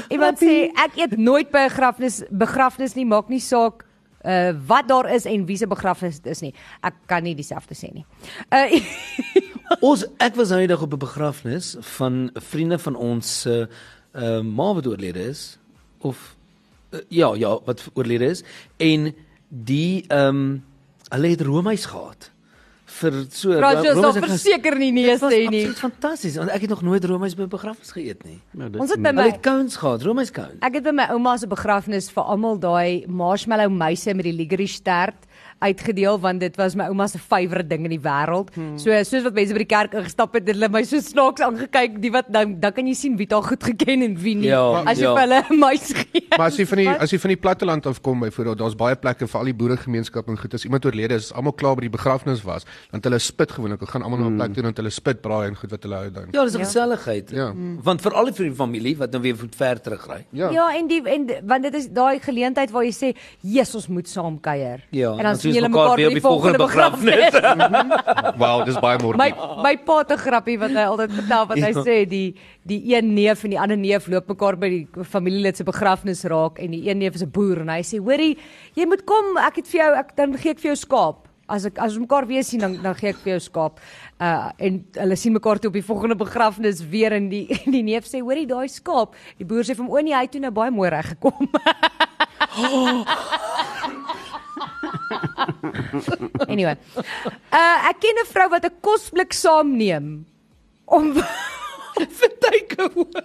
Iemand sê ek eet nooit by 'n begrafnis begrafnis nie, maak nie saak uh wat daar is en wie se begrafnis dit is nie. Ek kan nie dieselfde sê nie. Uh ons ek was nou eendag op 'n begrafnis van vriende van ons se uh, uh, ma wat oorlede is of uh, ja ja wat oorlede is en die ehm um, hulle het roomys gehad vir so Rajos roomys sal en gas- verseker nie nee Dit was sê nie. absoluut fantasties want ek het nog nooit roomys by 'n begrafnis geëet nie. Nou, dit Ons is het by my Hulle het cones gehad, roomys cones. ek het by my ouma se begrafnis vir almal daai marshmallow muise met die licorice stert uitgedeel want dit was my ouma se favourite ding in die wêreld. Hmm. So soos wat mense by die kerk ingestap het, het hulle my so snaaks aangekyk, die wat dan dan kan jy sien wie daar goed geken en wie nie. Ja, as jy ja. vir hulle *laughs* 'n muis gee. Maar as jy van die as jy van die platteland af kom byvoorbeeld, daar's baie plekke vir al die boeregemeenskap en goed as iemand oorlede is, is almal klaar by die begrafnis was, dan het hulle spit gewoonlik. Hulle gaan almal na 'n Hmm. plek toe en dan het hulle spit braai en goed wat hulle hou dan. Ja, dis 'n ja. geselligheid. Ja. Want veral vir die familie wat nou weer moet ver terugry. Ja. ja, en die en die- want dit is daai geleentheid waar jy sê, "Jesus, ons moet saam kuier." Ja, en dan sien julle mekaar weer op die volgende begrafnis. *laughs* Ja. Wow, dis baie My moeilik. my pa het 'n grappie wat hy altyd vertel wat hy Ja. sê die die een neef en die ander neef loop mekaar by die familielid se begrafnis raak en die een neef is 'n boer en hy sê hoorie jy moet kom ek het vir jou ek dan gee ek vir jou skaap as ek as ons mekaar weer sien dan dan gee ek vir jou skaap uh en hulle sien mekaar toe op die volgende begrafnis weer en die *laughs* en die neef sê hoorie daai skaap die boer sê vir hom o nee hy het toe nou baie mooi reg gekom *laughs* Anyway. Uh ek ken 'n vrou wat 'n kosblik saamneem om *laughs* vir takeaway.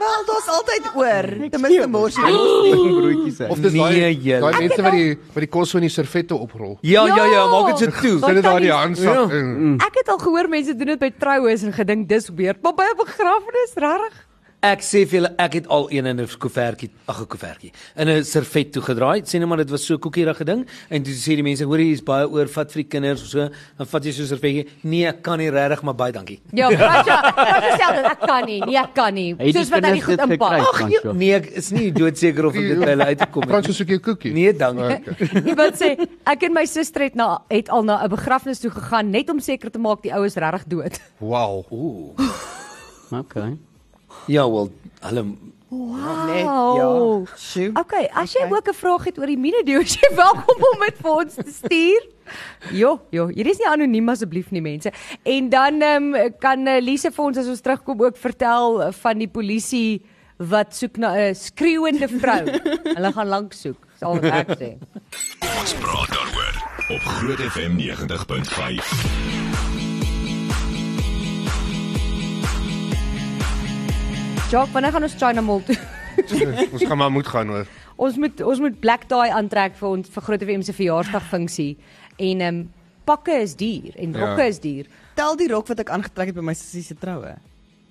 Wel, daar's altyd oor. Ten minste mors jy. *laughs* broodjies uit. Of dis daai Nee, julle. daai Ek mense wat die wat die kos so in die servette oprol. Ja, ja, ja, Ja. maak dit so toe. Sit dit daar in die kan handsak. Ja. in. Ek het al gehoor mense doen dit by troues en gedink dis weird, maar by 'n begrafnis regtig. Ek sê vir julle, ek het al een in 'n koevertjie, ag 'n koevertjie, in 'n servet toe gedraai. Sê net maar dit was so 'n koekierige ding en toe sê die mense, hoor hier is baie oor, vat vir die kinders of so, dan vat jy so 'n servetjie. Nee, ek kan nie regtig, maar baie *laughs* dankie. *laughs* Ja, Rasha, Rasha sê dat ek kan nie, nee ek kan nie. Hy het die Soos wat hy nie goed kinders dit gekry. inpak. Ag nee, nee, ek is nie doodseker of ek dit by hulle uitgekom het. Frans nie. soek jou koekie. Nee, dankie. Iemand sê ek en my suster het na het al na 'n begrafnis toe gegaan net om seker te maak die oues regtig dood. Wow. Okay. Ja, wel, hulle Net ja. Wow. Sjoe. Okay, as jy ook 'n vraag het oor die minedo, is jy *laughs* welkom om dit vir ons te stuur. Jo, jo, hier is nie anoniem asseblief nie mense. En dan ehm um, kan eh, Lise vir ons as ons terugkom ook vertel eh, van die polisie wat soek na 'n skreeuende vrou. Hulle gaan lank soek, sal wat ek sê. Ons praat daaroor op Groot FM 90.5. Jacques, wanneer gaan ons China Mall toe? *laughs* *laughs* Ons gaan maar moet gaan hoor. Ons moet ons moet black tie aantrek vir ons vir Groot FM se verjaarsdagfunksie en ehm um, pakke is duur en Ja. rokke is duur. Tel die rok wat ek aangetrek het by my sussie se troue.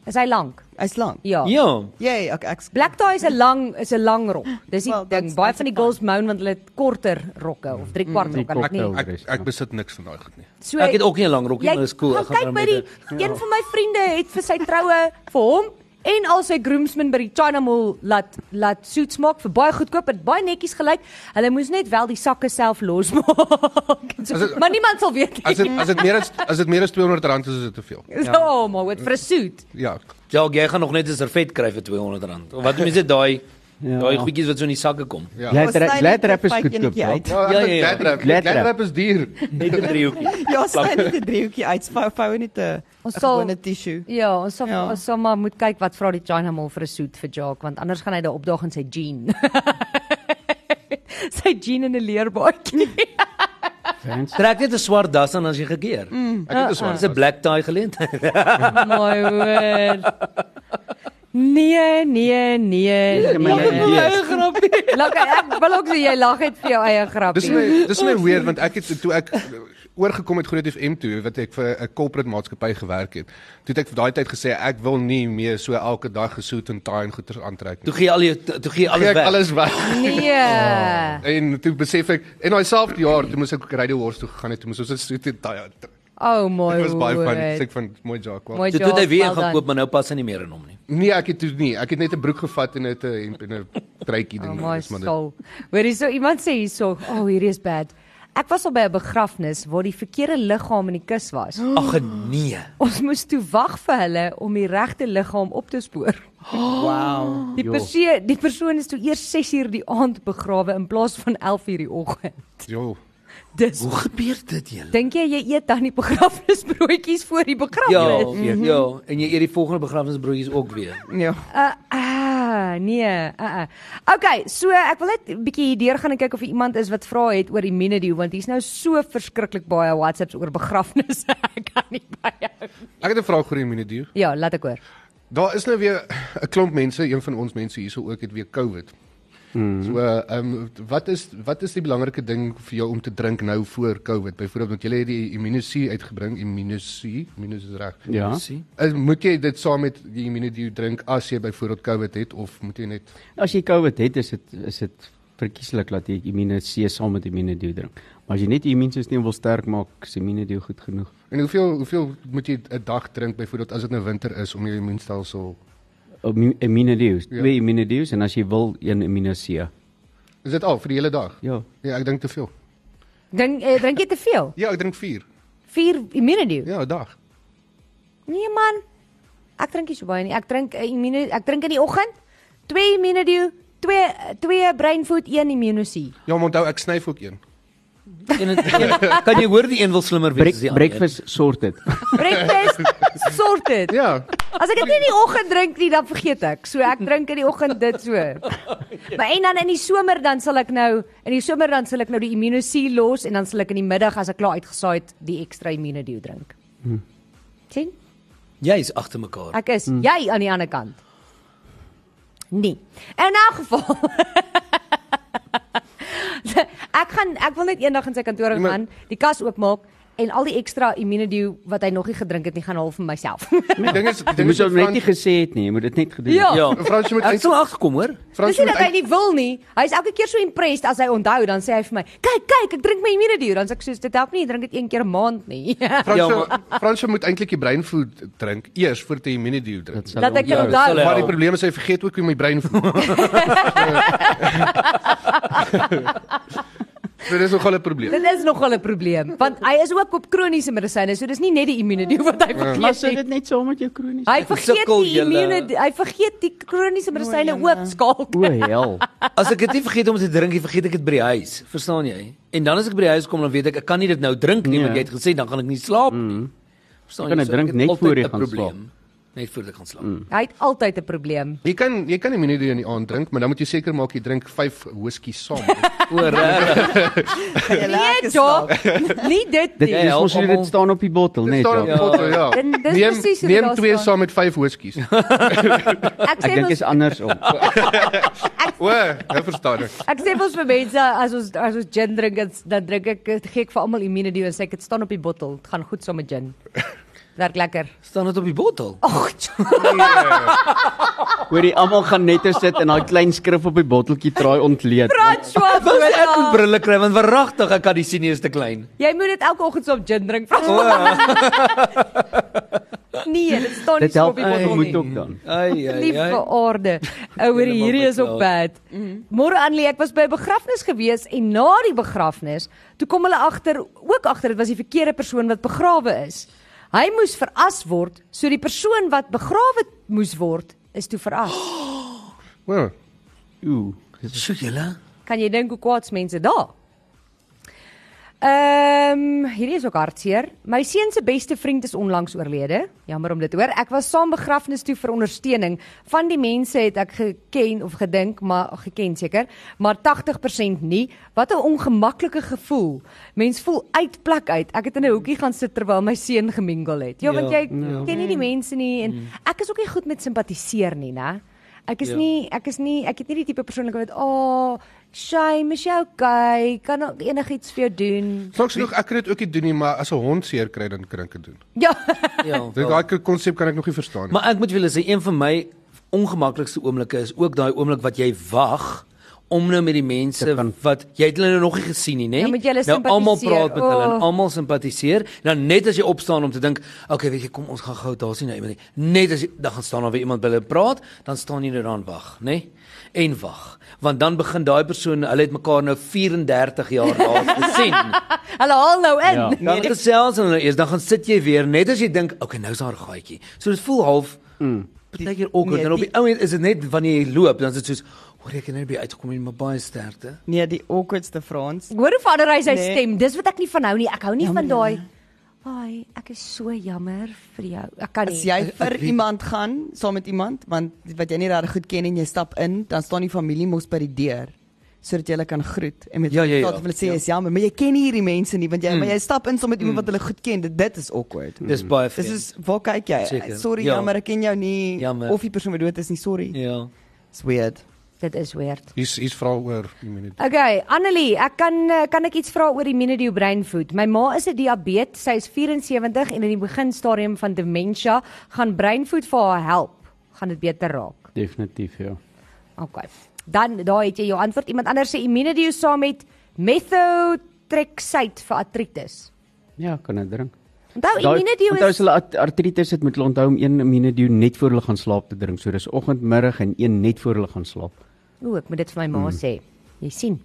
Is hy lank? Hy's lank. Ja. Ja. Jy, ek ek's Black tie is 'n lang is 'n lang rok. Dis die Well, well, ding. that's- Baie that's van die fine. girls moan want hulle het korter rokke of 3 kwart rokke en ek Driekwart nie. rokke. Ek ek besit niks van daai goed nie. So Ek het ook nie 'n lang rokkie, jy maar dis cool. gaan Ek gaan kyk by die daarmee. een van my vriende het vir sy troue vir hom en al sy groomsmen by die China Mall laat laat suits maak vir baie goedkoop en baie netjies gelyk. Hulle moes net wel die sakke self losmaak. so, As *laughs* dit- maar niemand sal weet nie. As dit as dit meer as as dit meer as R200 is is dit te veel. So, *laughs* oh, maar wat vir 'n suit. Ja. Ja, jy gaan nog net 'n servet kry vir R200. Of wat mense daai Ja. daai goedjies wat so in die sakke kom. Ja. Glad Ons rap- sny glad net rap is die vyf goedkoop. enetjie Ja. uit. Ja, Ja, ja, ja. Gladrap. Glad Gladrap is duur. Net 'n driehoekie. *laughs* Ja, sny net 'n driehoekie uit. Vou vou net 'n Ons 'n sal- gewone tissue. Ja, ons sal Ja. ons sal maar moet kyk wat vra die China Mall vir 'n soet vir Jacques want anders gaan hy daar opdaag in sy jean. *laughs* sy jean en 'n leerbaadjie. Fancy. Trek net 'n swart das aan as jy gekeer. Ek het 'n Ja, Dis swart. 'n black tie geleentheid. *laughs* My word. Nee, nee, nee. my nee. Lag ek wil ook sê jy lag net vir jou eie Dis grappie. my dis my weird want ek het toe ek oorgekom het Groot FM toe wat ek vir 'n corporate maatskappy gewerk het. Toe het ek vir daai tyd gesê ek wil nie meer so elke dag gesoet en taai en goeters aantrek Toe nie. gee al jou toe gee alles Gee ek weg. alles weg. Nee. En toe besef ek en daai selfde jaar toe moes ek Radio Horse toe gegaan het, toe moes ons 'n soet en taai aantrek. Oh my Dit was baie fun. Ek sê word. ek van mooi Jacques. wel. Mooi Toe toe het hy Jacques, weer well gaan done. koop, maar nou pas hy nie meer in hom nie. Nee, ek het toe nie. Ek het net 'n broek gevat en dit 'n hemp en 'n truitjie Oh ding. my dis maar dit. soul. Hoorie so iemand sê hierso, "Oh, hierdie is bad." Ek was al by 'n begrafnis waar die verkeerde liggaam in die kus was. Ag nee. Ons moes toe wag vir hulle om die regte liggaam op te spoor. Wow. Die Jo. persoon, die persoon is toe eers 6uur die aand begrawe in plaas van 11uur die oggend. Jo. Dis Hoe gebeur dit julle? Dink jy jy eet dan die begrafnisbroodjies voor die Ja, begrafnis? ja, en jy eet die volgende begrafnisbroodjies ook weer. Ja. Uh, ah, nee. Uh, uh. Okay, so ek wil net 'n bietjie hier deur gaan en kyk of hier iemand is wat vra het oor immunity want hier's nou so verskriklik baie WhatsApps oor begrafnisse. *laughs* ek kan nie byhou. Ek het 'n vraag vir Immunedio. Ja, laat ek hoor. Daar is nou weer *laughs* 'n klomp mense, een van ons mense hierso ook het weer COVID. Mm. So, ehm um, wat is wat is die belangrike ding vir jou om te drink nou voor COVID? Byvoorbeeld want jy het die immunisie uitgebring, immunisie, minus is reg. Ja. Sien? Is moet jy dit saam met die immunidio drink as jy byvoorbeeld COVID het of moet jy net As jy COVID het, is dit is dit verkieslik dat jy Immuno C saam met Immuno D drink. Maar as jy net die immuunstelsel wil sterk maak, is Immuno D goed genoeg. En hoeveel hoeveel moet jy 'n dag drink byvoorbeeld as dit nou winter is om jou immuunstelsel Immuno D, twee Immuno D's en as jy wil een Ja. Immuno C. Is dit al vir die hele dag? Ja. Ja, ek drink te veel. Dink eh, drink jy te veel? Ja, ek drink 4. 4 immunity. Ja, 'n dag. Nee man. Ek drink nie so baie nie. Ek drink eh, immunity, ek drink in die oggend 2 immunity, 2 2 brain food, 1 immunity. Ja, maar onthou ek snyf ook een. En het, en, kan jy hoor die een wil slimmer wees Break, as die ander? breakfast sorted. Breakfast sorted. Ja. As ek dit nie in die oggend drink nie, dan vergeet ek. So ek drink in die oggend dit so. Maar en dan in die somer dan sal ek nou in die somer dan sal ek nou die immunosie los en dan sal ek in die middag as ek klaar uitgesaai het die ekstra immunodie drink. sien? Jy is agter mekaar. Ek is jy aan die ander kant. Nee. In elk geval. *laughs* ek gaan ek wil net eendag in sy kantoor Nee, maar- gaan, die kas oopmaak en al die ekstra immunodie wat hy nog nie gedrink het nie gaan haal vir myself. *laughs* Die ding is, die Jy ding moes is hom net nie Frans, gesê het nie, jy moet dit net gedoen Ja. het. Ja. Frans, jy moet Ek eintlik sou agterkom hoor. Frans Dis jy nie moet dat hy eintlik nie wil nie. Hy's elke keer so impressed as hy onthou, dan sê hy vir my, "Kyk, kyk, ek drink my immunity." Dan sê ek soos, "Dit help nie, jy drink dit een keer 'n maand nie." *laughs* Frans, Ja, jy- Frans jy moet eintlik die brain food drink eers voordat jy immunity drink. sal Laat ek Ja, kan dit sal onthou. hy- Maar die probleem is hy vergeet ook hoe my *laughs* brein voel. so dis nogal 'n probleem. Dit is nogal 'n probleem, want hy is ook op kroniese medisyne, so dis nie net die immunity wat hy Maar sou vergeet nie. dit net saam met jou kronies? Hy vergeet Sukkel die julle. immunity, hy vergeet die kroniese medisyne jene. ook skalk. O hel. As ek dit nie vergeet om te drink, nie, vergeet ek dit by die huis. Verstaan jy? En dan as ek by die huis kom, dan weet ek ek kan nie dit nou drink nie, Nee. want jy het gesê dan gaan ek nie slaap nie. Verstaan jy? Kan dit So ek drink het net altyd voor jy 'n gaan probleem. Net voor ek gaan slaap. Hy het altyd 'n probleem. Jy kan jy kan immunity in die aand drink, maar dan moet jy seker maak jy drink 5 whisky saam. Oor regtig. Nee, Jo. *laughs* Nie dit Dit nie. is help mos hoe almal. dit staan op die bottel, Dit *laughs* net. staan op die Ja. bottel, ja. Dit- dit is Neem presies hoe dit neem daar twee staan. saam met 5 *laughs* whiskies. Ek Ek sê dink mos is andersom. O, nou verstaan ek. Ek sê mos vir mense as ons as ons gin drink dan- dan drink ek gee ek vir almal immunity en sê ek dit staan op die bottel. Dit gaan goed saam met gin. *laughs* Werk lekker. Staan dit op die bottel? Ag, Hoorie, almal gaan net sit en daai klein skrif op die botteltjie traai ontleed. François, Wou ek moet Botha. brille kry want verragtig ek kan die seniors te klein. jy moet dit elke oggend saam gin drink. François. *laughs* Nee, dit staan nie Dit so op help die ek bottel moet nie. ook dan. Ai ai Lief ai. vir aarde. Ouer Helemaal hierdie is op beklaag. bad. Môre Annelie, ek was by 'n begrafnis gewees en na die begrafnis, toe kom hulle agter, ook agter dit was die verkeerde persoon wat begrawe is. Hy moes veras word, so die persoon wat begrawe moes word, is toe veras. Wel, Ooh. So julle. Kan jy dink hoe kwaad's mense daar? Ehm, um, hierdie is ook hartseer. My seun se beste vriend is onlangs oorlede. Jammer om dit te hoor. Ek was saam begrafnis toe vir ondersteuning. Van die mense het ek geken of gedink, maar geken seker, maar 80% nie. Wat 'n ongemaklike gevoel. Mens voel uit plek uit. Ek het in 'n hoekie gaan sit terwyl my seun gemingel het. Ja, Ja, want jy ken nie die mense nie en ek is ook nie goed met simpatiseer nie, né? Ek is Ja. nie nie, ek is nie, ek het nie die tipe persoonlikheid wat, "O, oh, shame, is jy okay? Kan ek enigiets vir jou doen?" Soks nog ek kan dit ook nie doen nie, maar as 'n hond seer kry dan kan ek dit doen. *laughs* Ja. Ja. Dit daai konsep kan ek nog nie verstaan nie. Maar ek moet vir julle sê een van my ongemaklikste oomblikke is ook daai oomblik wat jy wag om nou met die mense Te kan- wat jy het hulle nou nog nie gesien nie, nê? Dan moet jy hulle nou almal sympatiseer. Oh. praat met hulle O. en almal simpatiseer. En Dan net as jy opstaan om te dink, okay, weet jy, kom ons gaan gou daar sien nou iemand. nie. Net as jy dan gaan staan daar weer iemand by hulle praat, dan staan jy nou daar en wag, nê? En wag, want dan begin daai persoon, hulle het mekaar nou 34 jaar daar gesien. Hulle haal nou in. Ja. Dan gesels hulle nou eers, dan gaan sit jy weer net as jy dink, okay, nou is daar 'n gaatjie. So dit voel half mm. partykeer awkward nee, en op die die- ou end is dit net wanneer jy loop, dan is dit soos, hoor ek het nou by uitgekom en my baie sterkte. Nee, die awkwardste Frans. Ek Hoor hoe verander hy sy nee. Nee. stem. Dis wat ek nie van hou nie. Ek hou nie Jammer, van daai "Ai, ek is so jammer vir jou." Ek kan As Nee. nie. jy vir iemand gaan, saam met iemand, want wat jy nie regtig goed ken en jy stap in, dan staan die familie mos by die deur sodat jy hulle kan groet en met Ja, ja, Mm. ja. praat of hulle sê is jammer, maar jy ken nie hierdie mense nie want jy maar jy stap in saam met iemand wat hulle goed ken. Dit, dit is awkward. Dis baie Dis vreemd. is waar kyk jy? Seker. Sorry, Ja. jammer, ek ken jou nie. Jammer. Of die persoon wat dood is nie, sorry. Ja. It's weird. Dit is weird. Hier's hier's vra oor 'n minuut. Okay, Annelie, ek kan eh, kan ek iets vra oor immunity brain food. My ma is 'n diabetes, sy is 74 en in die beginstadium van demensie gaan brain food vir haar help. Gaan dit beter raak? Definitief ja. Okay. Dan daar het jy jou antwoord. Iemand anders sê immunity saam met methotrexate vir artritis. Ja, kan dit drink. Onthou Daai- immunity Onthou as is hulle at- artritis het moet hulle onthou om 1 immunedew net voor hulle gaan slaap te drink. So dis oggend, middag en een net voor hulle gaan slaap. O, ek moet dit vir my ma Hmm. sê. Jy sien.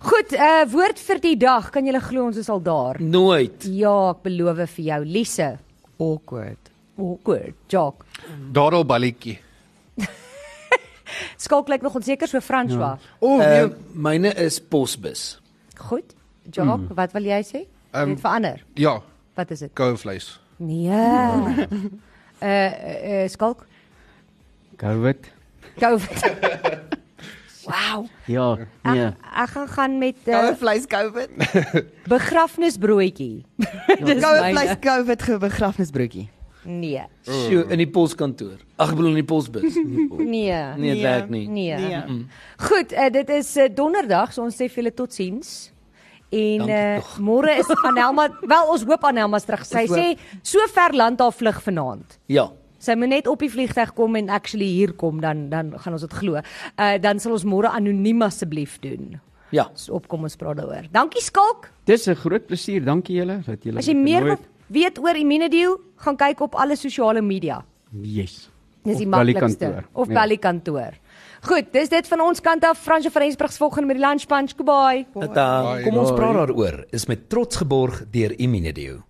Goed, uh woord vir die dag. Kan julle glo ons is al daar? Nooit. Ja, ek beloof vir jou, Lise. Awkward. Awkward, Jock. Daaral balletjie. Skalk lyk nog onseker so Ja. François. O, Uh, nee, myne is posbus. Goed. Jock, Hmm. wat wil jy sê? Ehm, Dit verander. ja, Wat is dit? koue vleis. *laughs* Nee. Uh uh, uh skalk. COVID. *laughs* COVID. wow. Ja, Ek, nee. ek gaan gaan met Goue uh, vleis COVID. begrafnisbroodjie. *laughs* Ja. Dis Goue myne. vleis COVID ge begrafnisbroodjie. Nee. Sjoe, in die poskantoor. Ag, ek bedoel in die posbus. Nee. Nee. Nee, dit werk nie. nee. Goed, uh, dit is uh, donderdag, so ons sê vir julle totsiens. En uh, Dankie tog. môre is Anelma, wel ons hoop Anelma's terug. Sy Ons sê so ver land haar vlug vanaand. Ja. Sy moet net op die vliegtyg kom en actually hier kom dan dan gaan ons dit glo. Uh dan sal ons môre anoniem asseblief doen. Ja. So opkom ons praat daaroor. Dankie Skalk. Dis 'n groot plesier. Dankie julle dat julle As jy my meer genooi wil weet oor Immunedeal, gaan kyk op alle sosiale media. het. Yes. Dis die Of bel die maklikste. kantoor. Of Ja. bel die kantoor. Goed, dis dit van ons kant af. Fransjo van Rensburg se volgende met die lunch punch. Goodbye. Tata. Bye. Kom ons praat daaroor. Is met trots geborg deur Immunedio.